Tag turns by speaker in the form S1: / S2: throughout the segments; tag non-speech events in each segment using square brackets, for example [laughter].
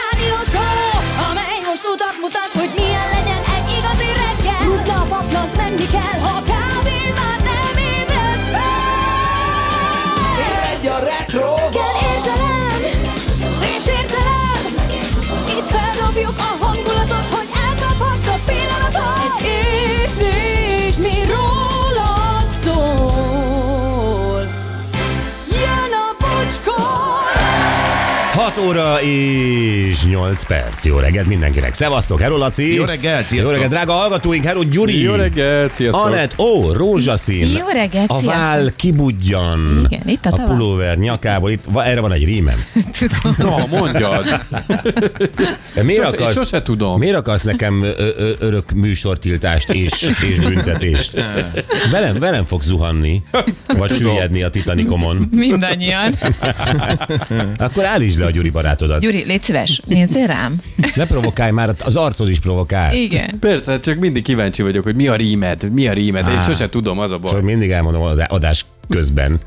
S1: rádió show, amely most utat mutat, hogy milyen legyen egy igazi reggel. Rutna a paplant, menni kell, ha kávén már nem ébresz fel.
S2: Egy a retro
S1: Kell érzelem, és értelem, itt feldobjuk a hangulatot, hogy elkaphast a pillanatot. Egy érzés, mi rólad szól. Jön a bocskor!
S3: 6 óra és 8 perc. Jó reggelt mindenkinek. Szevasztok, Hello Laci.
S4: Jó reggelt, sziasztok.
S3: Jó reggelt, drága hallgatóink, Hello Gyuri.
S5: Jó reggelt, sziasztok!
S3: Anett, ó, rózsaszín.
S6: Jó reggelt,
S3: A
S6: sziasztok.
S3: váll kibudjan.
S6: Igen, itt a
S3: a
S6: tavasz.
S3: pulóver nyakából. Itt, va- erre van egy rímem.
S6: Tudom.
S5: Na, [laughs] mondjad!
S3: De miért
S5: Sose-
S3: akarsz,
S5: sose tudom.
S3: Miért akarsz nekem ö, ö, örök műsortiltást és, és büntetést? Velem, velem fog zuhanni, vagy süllyedni a Titanikomon.
S6: Mindannyian.
S3: Akkor állítsd le a Gyuri barátodat.
S6: Gyuri, légy szíves, nézzél rám.
S3: Ne provokálj már, az arcod is provokál.
S6: Igen.
S5: Persze, csak mindig kíváncsi vagyok, hogy mi a rímed, mi a rímed. Én sose tudom, az a baj.
S3: Csak mindig elmondom az adás közben.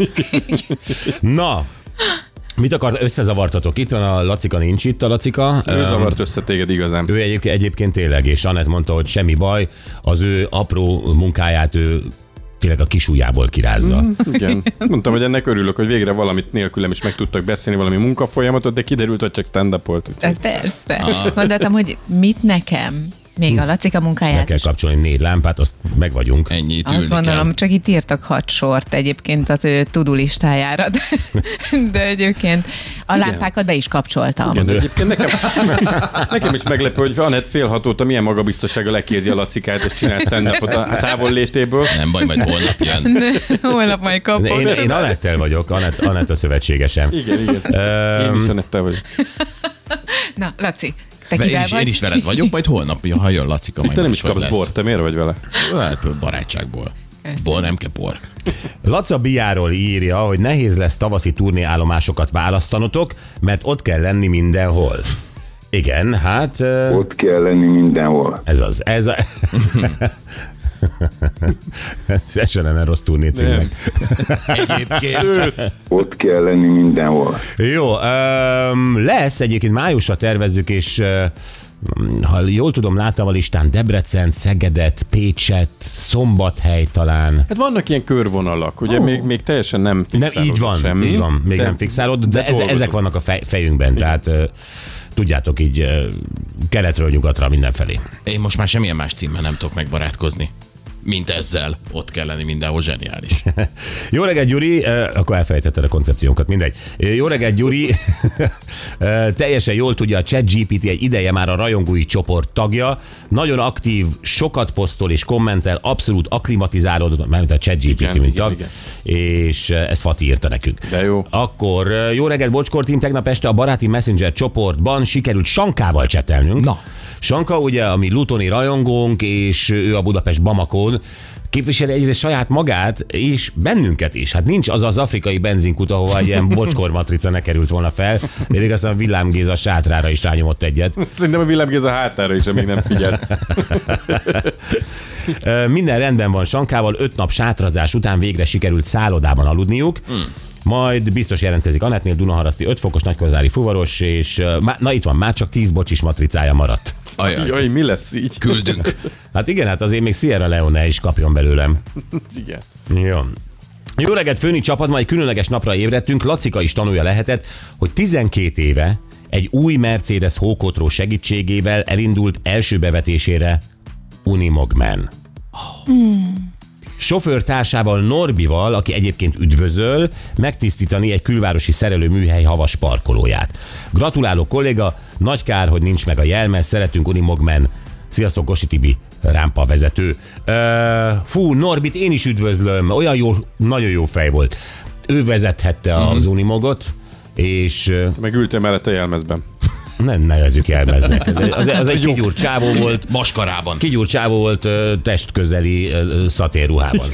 S3: Na, mit akart, összezavartatok? Itt van a Lacika, nincs itt a Lacika.
S5: Ő zavart össze téged [laughs] igazán.
S3: Ő egyébként, egyébként tényleg, és Anett mondta, hogy semmi baj, az ő apró munkáját ő tényleg a kis ujjából kirázza.
S5: Mhm. Igen. Mondtam, hogy ennek örülök, hogy végre valamit nélkülem is meg tudtak beszélni, valami munkafolyamatot, de kiderült, hogy csak stand-up volt.
S6: De
S5: úgyhogy-
S4: Ah.
S6: persze. Gondoltam, hogy mit nekem?
S4: Hm.
S6: Még a Lacika
S3: Be
S6: munkáját
S3: kell
S6: is.
S3: kapcsolni négy lámpát, azt meg vagyunk.
S4: Ennyit
S6: Azt
S4: ülni
S6: gondolom,
S4: kell.
S6: csak itt írtak hat sort egyébként az ő tudulistájára, de, de egyébként a lámpákat be is kapcsoltam.
S5: Ez egyébként nekem, [laughs] nekem is meglepő, hogy Anett fél hat óta milyen magabiztossággal lekérzi a lacikát, és csinál stand a távol létéből.
S4: Nem baj, majd holnap jön.
S6: [laughs] Holnap majd
S3: De
S6: kapok.
S3: Én, én Anettel vagyok, Anett, Anett a szövetségesem.
S5: Igen, igen. Én is Anettel vagyok.
S6: Na, Laci, te
S4: Ve- Én
S6: kivel
S4: is, én
S6: vagy?
S4: is veled vagyok, majd holnap, jön, ha jön Lacika, majd
S5: Te nem is
S4: máshogy
S5: kapsz
S4: lesz.
S5: bort, te miért vagy vele?
S4: Hát, barátságból. Bor nem kell bor.
S3: Laca Biáról írja, hogy nehéz lesz tavaszi turnéállomásokat választanotok, mert ott kell lenni mindenhol. Igen, hát... ö,
S7: Ott kell lenni mindenhol.
S3: Ez az, ez a... [laughs] ez se- se lenne rossz turné címnek.
S4: Egyébként.
S7: Ott kell lenni mindenhol.
S3: Jó, öm, lesz egyébként májusra tervezzük, és ö, ha jól tudom, láttam a listán Debrecen, Szegedet, Pécset, Szombathely talán.
S5: Hát vannak ilyen körvonalak, ugye még, még teljesen nem
S3: Nem, így van,
S5: semmi.
S3: így van, még
S5: de-
S3: nem, nem fixálod, de, ez,
S5: dolgozunk.
S3: ezek vannak a fej, fejünkben, tehát ö, tudjátok így ö, keletről nyugatra mindenfelé. [laughs]
S4: Én most már semmilyen más címmel nem tudok megbarátkozni mint ezzel. Ott kell lenni mindenhol zseniális.
S3: Jó reggelt, Gyuri, Ö, akkor elfelejtetted a koncepciónkat, mindegy. Ö, Jó reggelt, Gyuri, [laughs] Ö, teljesen jól tudja, a ChatGPT egy ideje már a rajongói csoport tagja, nagyon aktív, sokat posztol és kommentel, abszolút aklimatizálódott, mármint a ChatGPT,
S5: Igen,
S3: mint
S5: igen,
S3: tag,
S5: igen.
S3: és ö, ezt Fati írta nekünk.
S5: De jó.
S3: Akkor ö, jó reggelt, Bocskor team, tegnap este a Baráti Messenger csoportban sikerült Sankával csetelnünk. Na. Sanka ugye, ami Lutoni rajongónk, és ő a Budapest Bamakon, képviseli egyrészt saját magát, és bennünket is. Hát nincs az az afrikai benzinkút, ahova egy
S5: [laughs]
S3: ilyen bocskor matrica ne került volna fel. Még aztán Villám Géza sátrára is rányomott egyet.
S5: Szerintem a Willem Géza hátára is, amíg nem figyel.
S3: [laughs] Ö, Minden rendben van Sankával, öt nap sátrazás után végre sikerült szállodában aludniuk. Majd biztos jelentkezik Anetnél, Dunaharaszti 5 fokos, nagykozári fuvaros, és ö, má- na itt van, már csak 10 bocsis matricája maradt.
S4: Ajaj,
S5: Jaj, mi lesz így?
S4: küldünk.
S3: Hát igen, hát azért még Sierra Leone is kapjon belőlem.
S5: [laughs] Igen.
S3: Jó. Jó reggelt, főni csapat, ma egy különleges napra ébredtünk. Lacika is tanulja lehetett, hogy 12 éve egy új Mercedes hókotró segítségével elindult első bevetésére Unimogman. Sofőrtársával Norbival, aki egyébként üdvözöl, megtisztítani egy külvárosi szerelőműhely havas parkolóját. Gratulálok kolléga, nagy kár, hogy nincs meg a jelme, szeretünk Unimogmen. Sziasztok, Kosi Tibi, rámpa vezető. Ö, fú, Norbit én is üdvözlöm, olyan jó, nagyon jó fej volt. Ő vezethette az Unimogot, és ö,
S5: Meg ültél mellette a jelmezben.
S3: nem nevezzük jelmeznek. Az, az egy kigyúrt csávó volt,
S4: Maskarában.
S3: kigyúrt csávó volt ö, testközeli ö, szatérruhában.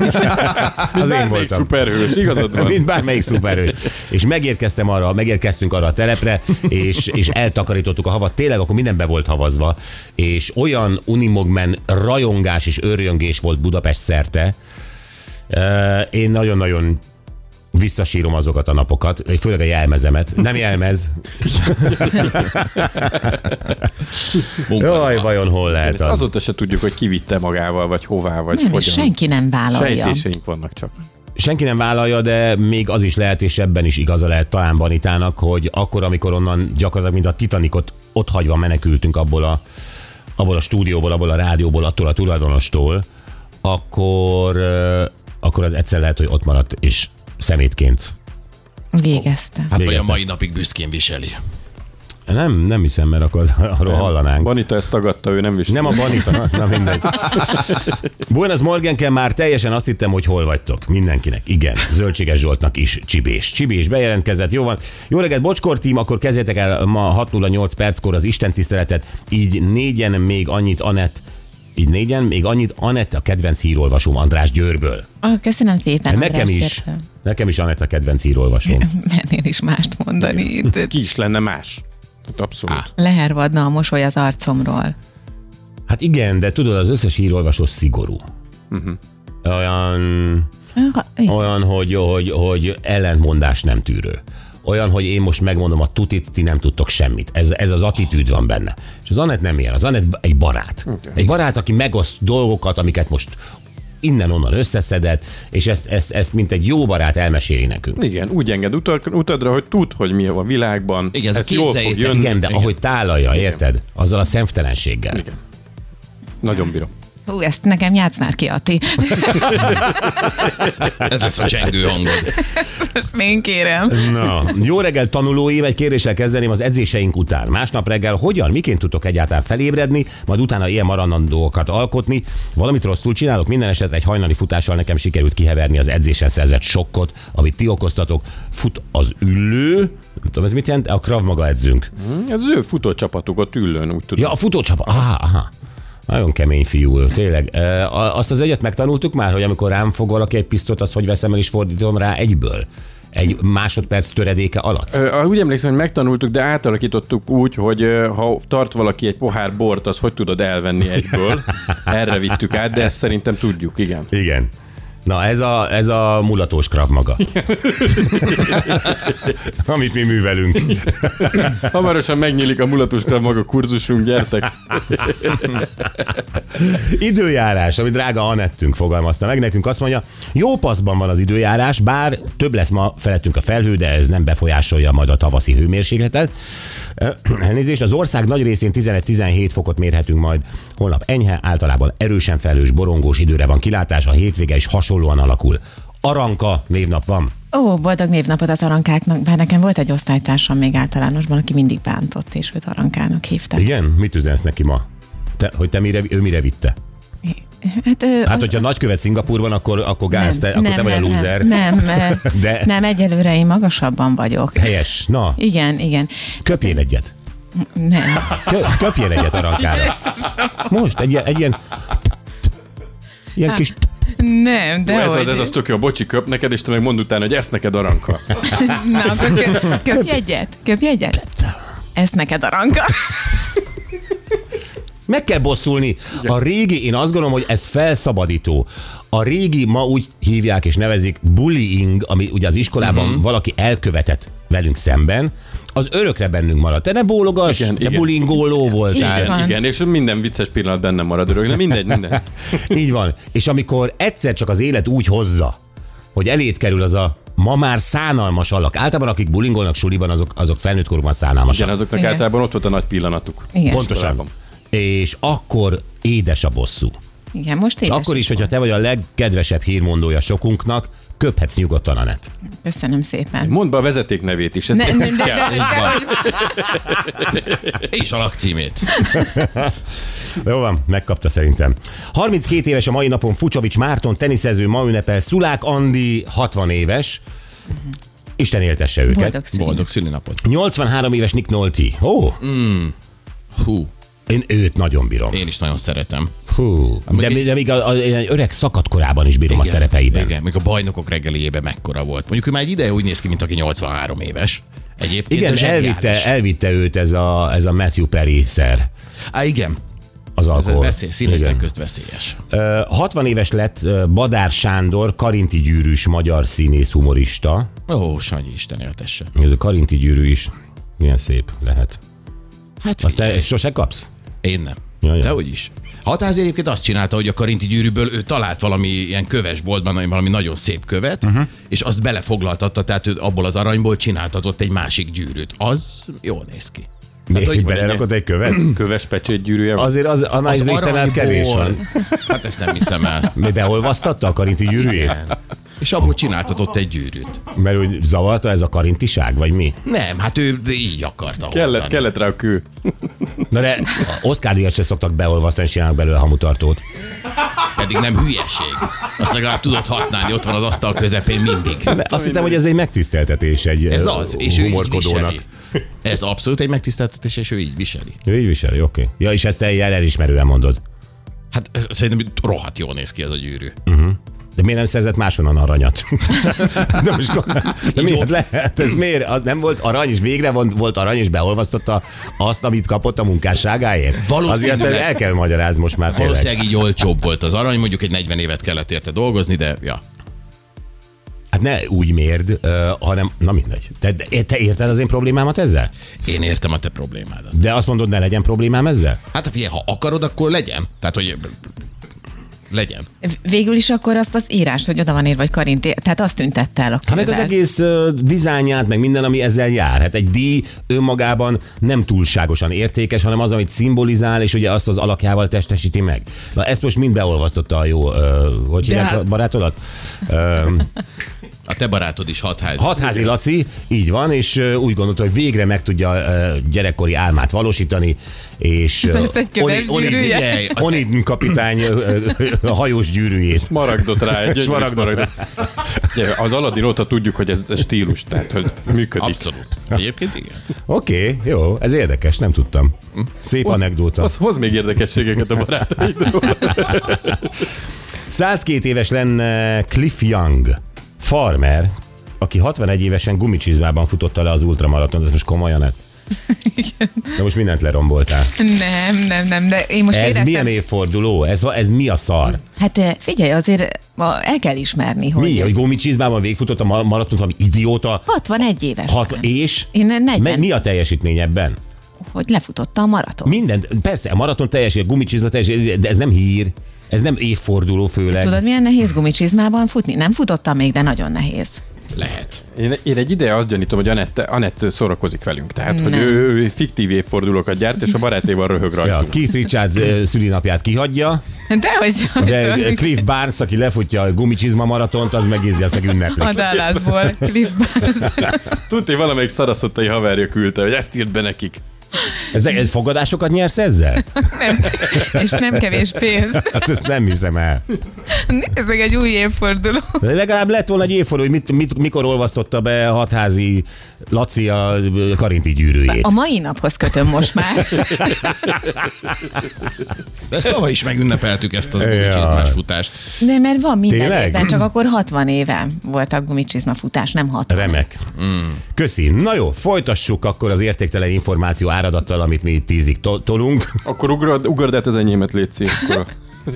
S3: az Hát én
S5: Bármelyik
S3: voltam.
S5: szuperhős, igazad van.
S3: Mint bármelyik szuperhős. És megérkeztem arra, megérkeztünk arra a telepre, és, és eltakarítottuk a havat. Tényleg akkor minden be volt havazva, és olyan unimogmen rajongás és örjöngés volt Budapest szerte. Ö, Én nagyon-nagyon visszasírom azokat a napokat, főleg a jelmezemet. Nem jelmez. Jaj, vajon hol lehet
S5: Ezt
S3: az?
S5: azóta se tudjuk, hogy ki vitte magával, vagy hová, vagy
S6: Nem, és
S5: hogyan.
S6: senki nem vállalja.
S5: Sejtéseink vannak csak.
S3: Senki nem vállalja, de még az is lehet, és ebben is igaza lehet talán Vanitának, hogy akkor, amikor onnan gyakorlatilag, mint a Titanicot ott hagyva menekültünk abból a, abból a stúdióból, abból a rádióból, attól a tulajdonostól, akkor, ö, akkor az egyszer lehet, hogy ott maradt, és szemétként.
S6: Végezte.
S4: Hát vagy a
S3: Végeztem.
S4: mai napig büszkén viseli.
S3: Nem, nem hiszem, mert akkor az- arról hallanánk.
S5: Banita ezt tagadta, ő nem is.
S3: Nem a banita, [laughs] na mindegy. Buenos Morgenken már teljesen azt hittem, hogy hol vagytok. Mindenkinek, igen. Zöldséges Zsoltnak is Csibés. Csibés bejelentkezett, jó van. Jó reggelt, Bocskor tím, akkor kezdjetek el ma 608 perckor az Isten tiszteletet. Így négyen még annyit Anett így négyen, még annyit Anett a kedvenc hírolvasóm András Győrből.
S6: Ah, köszönöm
S4: Hát
S6: szépen.
S3: Nekem
S6: András,
S3: is.
S6: kértem.
S3: Nekem is Anett a kedvenc hírolvasóm.
S6: Ennél is mást mondani. itt.
S5: Ki is lenne más. Hát abszolút.
S4: Á.
S6: Lehervadna a mosoly az arcomról.
S3: Hát igen, de tudod, az összes hírolvasó szigorú. Uh-huh. Olyan...
S6: Ha- igen.
S3: Olyan, hogy, hogy, hogy ellentmondás nem tűrő. Olyan, hogy én most megmondom a tutit, ti nem tudtok semmit. Ez, ez az attitűd van benne. És az Anett nem ilyen. Az Anett b- egy barát. Okay. Egy barát, aki megoszt dolgokat, amiket most innen-onnan összeszedett, és ezt, ezt, ezt mint egy jó barát elmeséli nekünk.
S5: Igen, úgy enged utak, utadra, hogy tud, hogy mi van a világban.
S4: Igen, ez a
S5: ez jól fog
S4: képzeljétek.
S5: jönni.
S3: Igen, de ahogy tálalja, érted? Azzal a szemtelenséggel. Igen.
S5: Nagyon bírom.
S6: Hú, ezt nekem játsz már ki,
S3: [laughs]
S6: Ati.
S4: Ez lesz a csengő hangod.
S6: Most én kérem.
S3: Na, jó reggel tanulóim, egy kérdéssel kezdeném az edzéseink után. Másnap reggel hogyan, miként tudtok egyáltalán felébredni, majd utána ilyen maradandókat alkotni? Valamit rosszul csinálok, minden esetre egy hajnali futással nekem sikerült kiheverni az edzésen szerzett sokkot, amit ti okoztatok. Fut az üllő, nem tudom ez mit jelent, a Krav maga edzünk.
S5: Ez az ő futócsapatuk ott ülön, úgy tudom.
S3: Ja, a futócsapa, aha, aha. Nagyon kemény fiú, tényleg. Ö, a- Azt az egyet megtanultuk már, hogy amikor rám fog valaki egy pisztolyt, azt hogy veszem el és fordítom rá egyből? Egy másodperc töredéke alatt?
S5: Ö, Úgy emlékszem, hogy megtanultuk, de átalakítottuk úgy, hogy ö, ha tart valaki egy pohár bort, az hogy tudod elvenni egyből.
S6: [laughs]
S5: Erre vittük át, de ezt szerintem tudjuk, igen.
S3: Igen. Na, ez a, ez a mulatós krav maga. Amit mi művelünk.
S5: Hamarosan megnyílik a mulatos Krav maga kurzusunk, gyertek.
S3: Időjárás, ami drága Anettünk fogalmazta meg nekünk, azt mondja, jó paszban van az időjárás, bár több lesz ma felettünk a felhő, de ez nem befolyásolja majd a tavaszi hőmérsékletet. Ö, Elnézést, az ország nagy részén 11-17 fokot mérhetünk majd. Holnap enyhe, általában erősen felhős, borongós időre van kilátás, a hétvége is hasonlóan alakul. Aranka névnap van.
S6: Ó, boldog névnapot az arankáknak, bár nekem volt egy osztálytársam még általánosban, aki mindig bántott, és őt arankának hívták.
S3: Igen? Mit üzensz neki ma? Te, hogy te mire, ő mire vitte?
S6: Hát, ö,
S3: Hát,
S6: az-
S3: hogyha nagykövet Szingapurban, akkor, akkor gáz, te, akkor te vagy a lúzer.
S6: Nem, nem,
S3: [laughs] De-
S6: De... nem, egyelőre én magasabban vagyok.
S3: Helyes. Na,
S6: Igen, igen.
S3: köpjél egyet.
S6: Nem.
S3: Kö, köpjél egyet arankára. Most, egy, ilyen- egy ilyen... Ilyen kis...
S6: Nem, de
S5: De ez, az, ez az tök jó, bocsi, köp neked, és te meg mondd utána, hogy ezt neked aranka.
S6: Na, akkor kö, köpj egyet, köpj egyet. Ezt neked aranka.
S3: Meg kell bosszulni. A régi, én azt gondolom, hogy ez felszabadító. A régi ma úgy hívják és nevezik bullying, ami ugye az iskolában
S6: Mhm.
S3: uh-huh. valaki elkövetett velünk szemben, az örökre bennünk marad. Te ne bólogass,
S5: Igen,
S3: te
S5: igen.
S3: bullyingoló voltál.
S6: Igen.
S5: Igen, igen, és minden vicces pillanat benne marad örökre. Mindegy, minden.
S3: Így van. És amikor egyszer csak az élet úgy hozza, hogy elét kerül az a ma már szánalmas alak. Általában akik bulingolnak suliban, azok, azok felnőtt korukban szánalmasak.
S5: Igen, azoknak
S6: Igen.
S5: általában ott volt a nagy pillanatuk.
S6: Igen,
S3: Pontosan.
S5: Iskolában.
S3: És akkor édes a bosszú.
S6: igen most
S3: És
S6: édes
S3: akkor is, hogyha
S6: van.
S3: te vagy a legkedvesebb hírmondója sokunknak, köphetsz nyugodtan a net.
S6: Köszönöm szépen.
S5: Mondd be a vezeték nevét is, ez
S6: Ne,
S5: ne,
S6: ne,
S5: nem
S6: ne,
S5: kell.
S6: ne, ne,
S4: És a lakcímét.
S3: Jó van, megkapta szerintem. 32 éves a mai napon Fucsovics Márton, teniszező, ma ünnepel Szulák Andi, 60 éves. Isten éltesse őket.
S6: Boldog szület.
S4: Boldog szülinapot.
S3: 83 éves Nick Nolte. Ó,
S4: Hú,
S3: én őt nagyon bírom.
S4: én is nagyon szeretem.
S3: Hú, de, még- de még a, a, ilyen öreg szakadt korában is bírom igen, a szerepeiben. Igen.
S4: Igen, még a bajnokok reggeliében mekkora volt. Mondjuk ő már egy ideje úgy néz ki, mint aki 83 éves. Egyébként
S3: Igen,
S4: de zseniális.
S3: elvitte, elvitte őt ez a, ez a Matthew Perry-szer.
S4: Á, igen.
S3: A az alkohol.
S4: Veszély, színészek
S3: Igen.
S4: közt veszélyes.
S3: Ö, 60 éves lett ö, Badár Sándor, karinti gyűrűs magyar színész humorista.
S4: Ó, Sanyi, Isten éltesse.
S3: Ez a karinti gyűrű is milyen szép lehet.
S4: Hát
S3: Azt te
S4: figyelj,
S3: sose kapsz?
S4: én nem.
S3: Ja, ja.
S4: De hogy is. Hatáz egyébként azt csinálta, hogy a karinti gyűrűből ő talált valami ilyen köves boltban, valami nagyon szép követ,
S3: Mhm.
S4: uh-huh. és azt belefoglaltatta, tehát ő abból az aranyból csináltatott egy másik gyűrűt. Az jól néz ki.
S3: Hát,
S4: hogy-
S3: hogy belerakod egy követ?
S5: Köves pecsét gyűrűje van.
S3: Azért az, annál az Istennel kevés van.
S4: Hát ezt nem hiszem el.
S3: Mi beolvasztatta a karinti gyűrűjét?
S4: És abból csináltatott egy gyűrűt.
S3: Mert úgy zavarta ez a karintiság, vagy mi?
S4: Nem, hát ő így akarta.
S5: Kellett,
S4: oldani.
S5: kellett rá a kő.
S3: Na de a Oscar díjat se szoktak beolvasztani, és csinálnak belőle hamutartót.
S4: Pedig nem hülyeség. Azt legalább tudod használni, ott van az asztal közepén mindig.
S3: Azt hittem, hogy ez egy megtiszteltetés egy
S4: Ez
S3: ö,
S4: az, és ő így
S3: humorkodónak.
S4: viseli. Ez abszolút egy megtiszteltetés, és ő így viseli.
S3: Ő így viseli, oké. Okay. Ja, és ezt te ilyen elismerően mondod.
S4: Hát ez- szerintem rohadt jól néz ki ez a gyűrű.
S3: De miért nem szerzett máshonnan aranyat? [laughs] De most gondolom, de miért lehet? Ez miért? Az nem volt arany, és végre volt, volt arany, és beolvasztotta azt, amit kapott a munkásságáért?
S4: Valószínűleg.
S3: Azért azt el kell magyarázni most már tényleg.
S4: Valószínűleg így olcsóbb volt az arany, mondjuk egy 40 évet kellett érte dolgozni, de ja.
S3: Hát ne úgy mérd, ö, hanem, na mindegy. Te, de- te érted az én problémámat ezzel?
S4: Én értem a te problémádat.
S3: De azt mondod, ne legyen problémám ezzel?
S4: Hát figyelj, ha akarod, akkor legyen. Tehát, hogy legyen.
S6: Végül is akkor azt az írás, hogy oda van írva, hogy Karinti, tehát azt tüntette el a
S3: Hát meg az
S6: kővel.
S3: egész ö, dizájnját, meg minden, ami ezzel jár. Hát egy díj önmagában nem túlságosan értékes, hanem az, amit szimbolizál, és ugye azt az alakjával testesíti meg. Na ezt most mind beolvasztotta a jó, ö, hogy
S4: De
S3: hívják
S4: hát-
S3: a barátodat?
S4: A te barátod is hatház.
S3: Hatházi Laci, így van, és ö, úgy gondolta, hogy végre meg tudja ö, gyerekkori álmát valósítani, és ö,
S6: Lesz egy köves
S3: Oni- Oni-
S6: gyűrűje.
S4: Figyelj, a-
S3: Onid kapitány ö, ö, ö, hajós gyűrűjét.
S5: Maragdot rá egy
S3: Smaragdot
S5: smaragdot. Ugye, az Aladdin óta tudjuk, hogy ez, ez stílus, tehát hogy működik.
S4: Abszolút. Egyébként igen.
S3: Oké, okay, jó, ez érdekes, nem tudtam. Szép anekdóta.
S5: Az hoz még érdekességeket a barátaidról.
S3: 102 éves lenne Cliff Young, farmer, aki 61 évesen gumicsizmában futotta le az ultramaratont, ez most komolyan
S6: [laughs]
S3: lett. De most mindent leromboltál.
S6: Nem, nem, nem, de én most
S3: Ez
S6: éreztem...
S3: milyen évforduló? Ez, ez mi a szar?
S6: Hát eh, figyelj, azért ma el kell ismerni, hogy...
S3: Mi, hogy gumicsizmában végigfutott a ma- maratont, ami idióta?
S6: 61 éves.
S3: Hat,
S6: már.
S3: és?
S6: Én 40.
S3: Me- Mi a teljesítmény ebben?
S6: Hogy lefutotta a maraton.
S3: Minden, persze, a maraton teljesít, a gumicsizma teljesít, de ez nem hír, ez nem évforduló főleg.
S6: Tudod, milyen nehéz gumicsizmában futni? Nem futottam még, de nagyon nehéz.
S4: Lehet.
S5: Én, én egy ideje azt gyanítom, hogy Anett, Anett szórakozik velünk. Tehát, hogy ő, ő fiktív évfordulókat gyárt, és a barátéval röhög
S3: Ja,
S5: rajtunk.
S3: Keith Richards ö, szülinapját kihagyja,
S6: De hogy...
S3: De Cliff Barnes, aki lefutja a gumicsizma maratont, az megízi, azt meg ünneplik.
S6: A Dallasból, Cliff Barnes.
S5: Tudni, valamelyik szaraszottai haverja küldte, hogy ezt írt be nekik.
S3: Ez, ez fogadásokat nyersz ezzel?
S6: Nem. És nem kevés pénz.
S3: Hát ezt nem hiszem el.
S6: Nézzek egy új évforduló.
S3: De legalább lett volna egy évforduló, hogy mit, mit, mikor olvasztotta be hatházi Laci a karinti gyűrűjét.
S6: A mai naphoz kötöm most már.
S4: De ezt tavaly is megünnepeltük ezt az
S3: Jaj.
S4: csizmás futást.
S6: De mert van minden
S3: Tényleg?
S6: évben, csak akkor 60 éve volt a gumicsizma futás, nem 60.
S3: Remek. Köszi. Na jó, folytassuk akkor az értéktelen információ áradattal, amit mi itt tízig to- tolunk.
S5: Akkor ugrad, ugrad át az enyémet, Léci. Akkor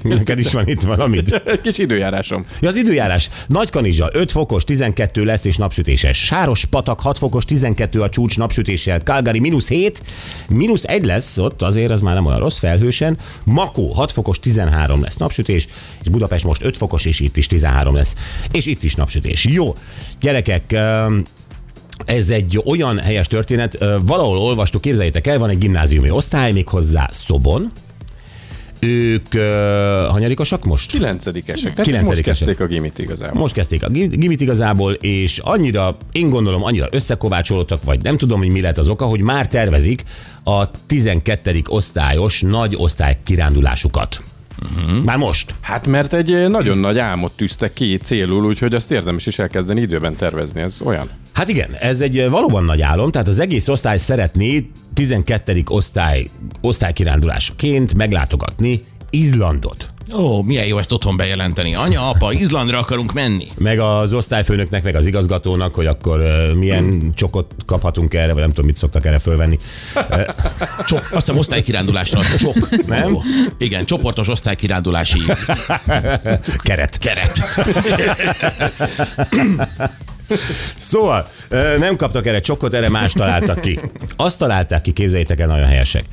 S3: Neked is van itt valamit.
S5: egy [laughs] kis időjárásom.
S3: Ja, az időjárás. Nagy Kanizsa 5 fokos, 12 lesz és napsütéses. Sáros patak 6 fokos, 12 a csúcs napsütéssel. Calgary mínusz 7, mínusz 1 lesz ott, azért az már nem olyan rossz felhősen. Makó 6 fokos, 13 lesz napsütés, és Budapest most 5 fokos, és itt is 13 lesz. És itt is napsütés. Jó, gyerekek, öm, ez egy olyan helyes történet, Ö, valahol olvastuk, képzeljétek el, van egy gimnáziumi osztály, méghozzá Szobon. Ők ö, hanyarikosak most?
S5: Kilencedikesek. Tehát most
S3: Kilencedikesek.
S5: kezdték a gimit igazából.
S3: Most kezdték a gi- gimit igazából, és annyira, én gondolom, annyira összekovácsolódtak, vagy nem tudom, hogy mi lett az oka, hogy már tervezik a 12. osztályos nagy osztály kirándulásukat. Uh-huh. Már most.
S5: Hát mert egy nagyon nagy álmot tűztek ki célul, úgyhogy azt érdemes is elkezdeni időben tervezni, ez olyan.
S3: Hát igen, ez egy valóban nagy álom, tehát az egész osztály szeretné 12. osztály, osztály kirándulásaként meglátogatni Izlandot.
S4: Ó, milyen jó ezt otthon bejelenteni. Anya, apa, Izlandra akarunk menni.
S3: Meg az osztályfőnöknek, meg az igazgatónak, hogy akkor ö, milyen csokot kaphatunk erre, vagy nem tudom, mit szoktak erre fölvenni.
S4: Csop, azt hiszem osztálykirándulásra. Csop.
S3: Nem?
S4: Ó, igen, csoportos osztálykirándulási
S3: Keret.
S4: keret.
S3: Szóval, ö, nem kaptak erre csokot, erre más találtak ki. Azt találták ki, képzeljétek el, nagyon helyesek.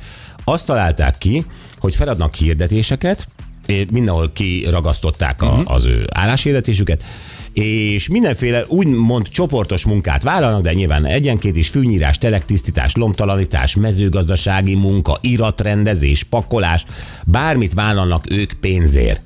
S3: Azt találták ki, hogy feladnak hirdetéseket, é- mindenhol kiragasztották a, az ő álláshirdetésüket, és mindenféle úgymond csoportos munkát vállalnak, de nyilván egyenként is fűnyírás, telektisztítás, lomtalanítás, mezőgazdasági munka, iratrendezés, pakolás, bármit vállalnak ők pénzért.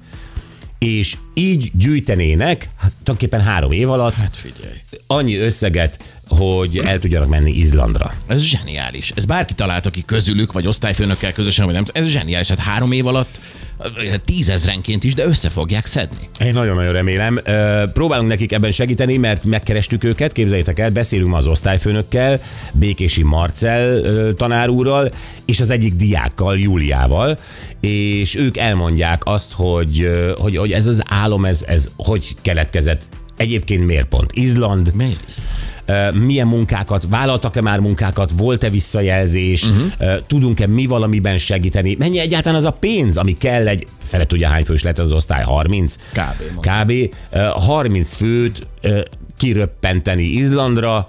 S3: És így gyűjtenének, hát tulajdonképpen három év alatt,
S4: Hát figyelj.
S3: annyi összeget, hogy el tudjanak menni Izlandra.
S4: Ez zseniális. Ez bárki talált, aki közülük, vagy osztályfőnökkel közösen, vagy nem tudom. Ez zseniális. Hát három év alatt eh, tízezrenként is, de össze fogják szedni.
S3: Én nagyon-nagyon remélem. Ö, Próbálunk nekik ebben segíteni, mert megkerestük őket, képzeljétek el, beszélünk ma az osztályfőnökkel, Békési Marcel ö, tanár úrral, és az egyik diákkal, Júliával, és ők elmondják azt, hogy, ö, hogy, hogy ez az álom, ez, ez hogy keletkezett, egyébként miért pont Izland,
S4: Miért?
S3: Ö, milyen munkákat, vállaltak-e már munkákat, volt-e visszajelzés, uh-huh. tudunk-e mi valamiben segíteni, mennyi egyáltalán az a pénz, ami kell egy, fele tudja hány fős lett az osztály, 30?
S4: Kb.
S3: Kb. Ö, 30 főt ö, kiröppenteni Izlandra,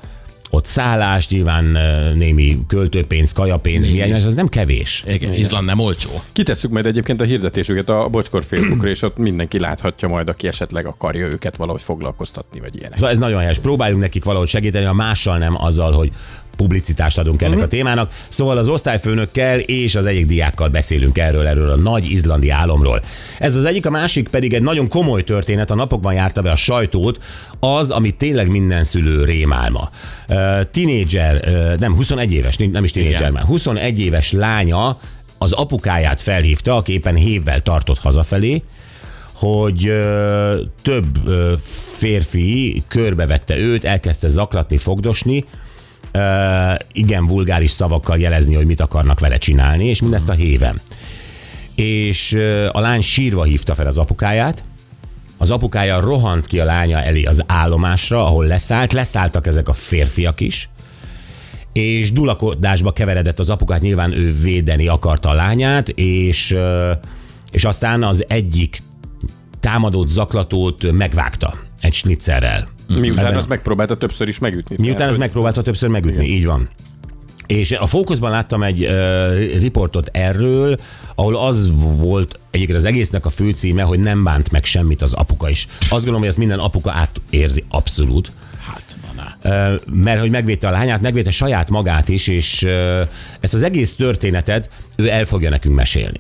S3: ott szállás, nyilván ö, némi költőpénz, kajapénz, hiány, és az nem kevés.
S4: Igen, Izland nem olcsó.
S5: Kitesszük majd egyébként a hirdetésüket a Bocskor Facebookra, és ott mindenki láthatja majd, aki esetleg akarja őket valahogy foglalkoztatni, vagy ilyenek.
S3: Szóval ez nagyon helyes. Próbáljunk nekik valahogy segíteni, a mással nem azzal, hogy publicitást adunk ennek uh-huh. a témának. Szóval az osztályfőnökkel és az egyik diákkal beszélünk erről, erről a nagy izlandi álomról. Ez az egyik, a másik pedig egy nagyon komoly történet, a napokban járta be a sajtót, az, ami tényleg minden szülő rémálma. Uh, Tinédzser, uh, nem, 21 éves, nem is tinédzser
S4: Igen.
S3: már, 21 éves lánya az apukáját felhívta, aki éppen hévvel tartott hazafelé, hogy ö, több ö, férfi körbevette őt, elkezdte zaklatni, fogdosni, ö, igen vulgáris szavakkal jelezni, hogy mit akarnak vele csinálni, és mindezt a héven. És ö, a lány sírva hívta fel az apukáját, az apukája rohant ki a lánya elé az állomásra, ahol leszállt, leszálltak ezek a férfiak is, és dulakodásba keveredett az apukát, nyilván ő védeni akarta a lányát, és, ö, és aztán az egyik támadót, zaklatót megvágta egy snitzerrel.
S5: Miután azt megpróbálta többször is megütni.
S3: Miután ez megpróbálta többször megütni, így van. És a fókuszban láttam egy uh, riportot erről, ahol az volt egyébként az egésznek a fő címe, hogy nem bánt meg semmit az apuka is. Azt gondolom, hogy ezt minden apuka átérzi abszolút.
S4: Hát, na, na.
S3: Ö, mert hogy megvédte a lányát, megvédte saját magát is, és ö, ezt az egész történetet ő el fogja nekünk mesélni.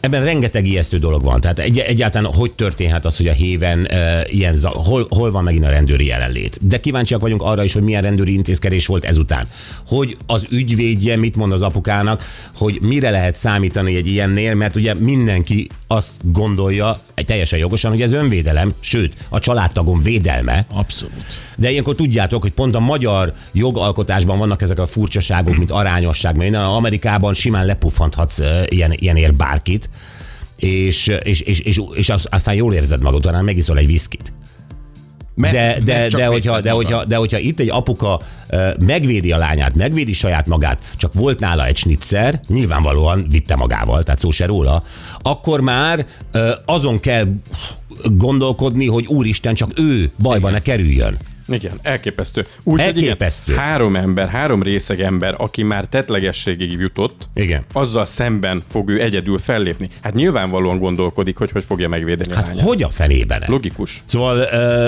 S3: Ebben rengeteg ijesztő dolog van. Tehát egy, egyáltalán hogy történhet az, hogy a héven ö, ilyen, za- hol, hol van megint a rendőri jelenlét. De kíváncsiak vagyunk arra is, hogy milyen rendőri intézkedés volt ezután. Hogy az ügyvédje mit mond az apukának, hogy mire lehet számítani egy ilyennél, mert ugye mindenki azt gondolja, teljesen jogosan, hogy ez önvédelem, sőt, a családtagom védelme,
S4: Abszolút.
S3: de ilyenkor tudjátok, hogy pont a magyar jogalkotásban vannak ezek a furcsaságok, mint arányosság, mert innen Amerikában simán lepuffanthatsz ö, ilyen, ilyenért bárkit, és, és, és, és, és az- aztán jól érzed magad, talán megiszol egy viszkit.
S4: Mert,
S3: De,
S4: mert
S3: de,
S4: csak
S3: de,
S4: még
S3: hogyha,
S4: hát
S3: de,
S4: maga.
S3: hogyha, de hogyha itt egy apuka ö, megvédi a lányát, megvédi saját magát, csak volt nála egy snitzer, nyilvánvalóan vitte magával, tehát szó se róla, akkor már ö, azon kell gondolkodni, hogy úristen, csak ő bajba ne kerüljön.
S5: Igen, elképesztő. Úgy, hogy
S3: Elképesztő.
S5: Igen, három ember, három részeg ember, aki már tetlegességig jutott,
S3: Igen.
S5: azzal szemben fog ő egyedül fellépni. Hát nyilvánvalóan gondolkodik, hogy hogy fogja megvédeni a
S3: Hát
S5: lányát.
S3: hogy a fenében?
S5: Logikus.
S3: Szóval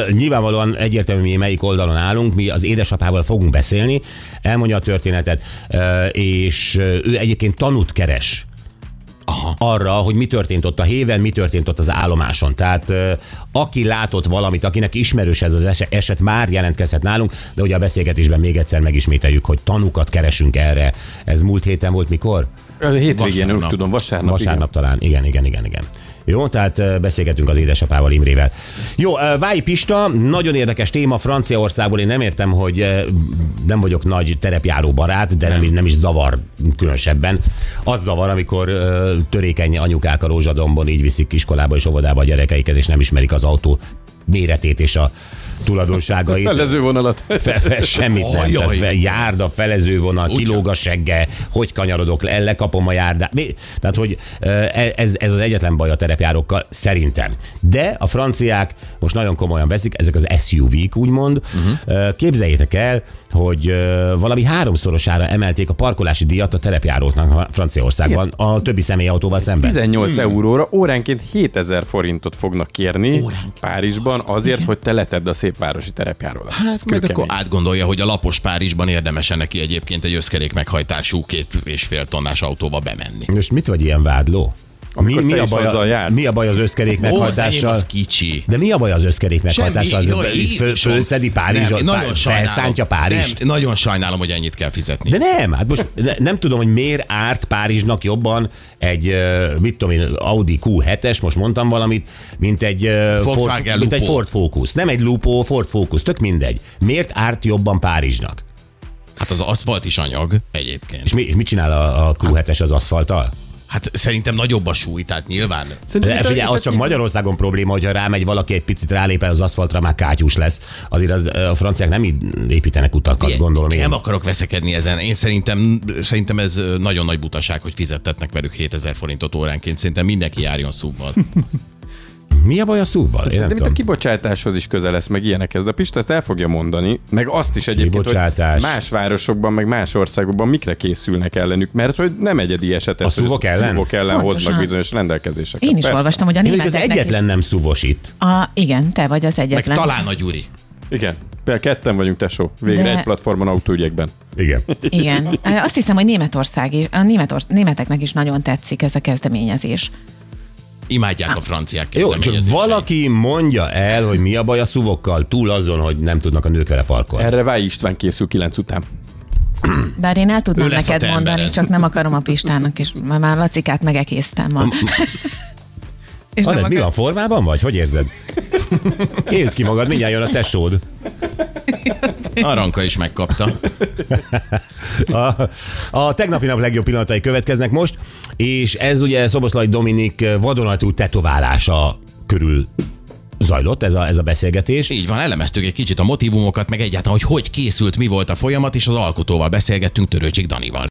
S3: uh, nyilvánvalóan egyértelmű, mi melyik oldalon állunk, mi az édesapával fogunk beszélni, elmondja a történetet, uh, és ö, ő egyébként tanút keres Aha. arra, hogy mi történt ott a héven, mi történt ott az állomáson. Tehát ö, aki látott valamit, akinek ismerős ez az eset, eset már jelentkezhet nálunk, de ugye a beszélgetésben még egyszer megismételjük, hogy tanukat keresünk erre. Ez múlt héten volt mikor?
S5: Hétvégén,
S4: Vasárnap.
S5: úgy tudom, vasárnap.
S3: Vasárnap talán, igen, igen, igen, igen. Jó, tehát ö, beszélgetünk az édesapával, Imrével. Jó, ö, Váj Pista, nagyon érdekes téma Franciaországból. Én nem értem, hogy ö, nem vagyok nagy terepjáró barát, de nem, nem is zavar különösebben. Az zavar, amikor ö, törékeny anyukák a rózsadombon így viszik iskolába és óvodába a gyerekeiket, és nem ismerik az autó méretét és a
S5: [laughs]
S3: tulajdonságait.
S5: Fellező vonalat.
S3: Fe, fe, semmit nem.
S4: Ajaj.
S3: Tehát Fe, járda, felezővonal,
S4: Ugyan.
S3: kilóg a segge, hogy kanyarodok le, lekapom a járdát. Mi? Tehát, hogy ö, e, ez, ez az egyetlen baj a terepjárókkal, szerintem. De a franciák most nagyon komolyan veszik, ezek az SUV-k úgymond.
S5: Mhm.
S3: Uh-huh. Képzeljétek el, hogy ö, valami háromszorosára emelték a parkolási díjat a terepjáróknak Franciaországban a többi személyautóval szemben.
S5: 18 hmm. euróra óránként 7000 forintot fognak kérni
S4: Óránként.
S5: Párizsban azért, hogy te letedd a szép városi terepjárólat.
S4: Hát meg akkor átgondolja, hogy a lapos Párizsban érdemes neki egyébként egy összkerék meghajtású két és fél tonnás autóba bemenni.
S3: Most mit vagy ilyen vádló?
S5: Amikor te is azzal jársz.
S3: mi a baj az összkerék
S4: Ó, az enyém
S3: meghajtással?
S4: az kicsi.
S3: De mi a baj az összkerék meghatással?
S4: jaj,
S3: Föl,
S4: Jézusom.
S3: fölszedi Párizs,
S4: Nem, én nagyon sajnálom.
S3: felszántja Párizs.
S4: Nem, nagyon sajnálom, hogy ennyit kell fizetni.
S3: De nem, hát most ne, nem tudom, hogy miért árt Párizsnak jobban egy, ö, mit tudom én, Audi Q7-es, most mondtam valamit, mint egy, ö,
S4: Volkswagen
S3: Ford, mint egy
S4: Lupo.
S3: Ford Focus. Nem egy Lupo, Ford Focus, tök mindegy. Miért árt jobban Párizsnak?
S4: Hát az aszfalt is anyag egyébként.
S3: És mi, és mit csinál a, a Q7-es az aszfalttal?
S4: Hát szerintem nagyobb a súly, tehát nyilván.
S3: De figyelj, az csak Magyarországon probléma, hogyha rámegy valaki egy picit rálép el az aszfaltra, már kátyús lesz. Azért az, ö, a franciák nem így építenek utakat,
S4: Ilyen-
S3: gondolom én.
S4: Nem akarok veszekedni ezen. Én szerintem, szerintem ez ö, nagyon nagy butaság, hogy fizettetnek velük 7000 forintot óránként. Szerintem mindenki járjon
S3: [laughs]
S4: szubban.
S3: Mi a baj a szúvval? Én nem
S5: Szerintem itt a
S3: tudom.
S5: kibocsátáshoz is közel lesz, meg ilyenekhez, de Pista ezt el fogja mondani, meg azt is egyébként,
S3: Kibocsátás.
S5: hogy más városokban, meg más országokban mikre készülnek ellenük, mert hogy nem egyedi eset. ez,
S3: A
S5: hogy
S3: szuvok ellen?
S5: Szuvok ellen
S6: Pontosan.
S5: hoznak bizonyos rendelkezéseket.
S6: Én is
S5: Persze.
S6: olvastam, hogy a
S3: Én vagyok az
S6: németeknek
S3: egyetlen nem szuvos itt.
S6: Is. A, igen, te vagy az
S4: Meg
S6: egyetlen.
S4: talán a Gyuri.
S5: Igen. Például ketten vagyunk, tesó. Végre
S6: De-
S5: egy platformon autóügyekben.
S3: Igen.
S6: Igen. Azt hiszem, hogy Németország is, a Németor, németeknek is nagyon tetszik ez a kezdeményezés.
S4: Imádják a franciák.
S3: Jó, csak
S4: kezdeményezéseit.
S3: valaki mondja el, hogy mi a baj a szuvokkal, túl azon, hogy nem tudnak a nők vele parkolni.
S5: Erre Váj István készül kilenc után.
S6: Bár én el
S4: Ő
S6: tudnám
S4: lesz a
S6: neked
S4: te
S6: mondani,
S4: embered.
S6: csak nem akarom a Pistának, és már már Lacikát megekésztem ma. és nem
S3: Anett, mi
S6: akar...
S3: van, formában vagy? Hogy érzed? Éld ki magad, mindjárt jön a tesód.
S4: Aranka is
S3: [laughs]
S4: megkapta.
S3: A, a tegnapi nap legjobb pillanatai következnek most, és ez ugye Szoboszlai Dominik vadonatú tetoválása körül zajlott ez a, ez a beszélgetés.
S4: Így van, elemeztük egy kicsit a motivumokat, meg egyáltalán, hogy hogy készült, mi volt a folyamat, és az alkotóval beszélgettünk Törőcsik Danival.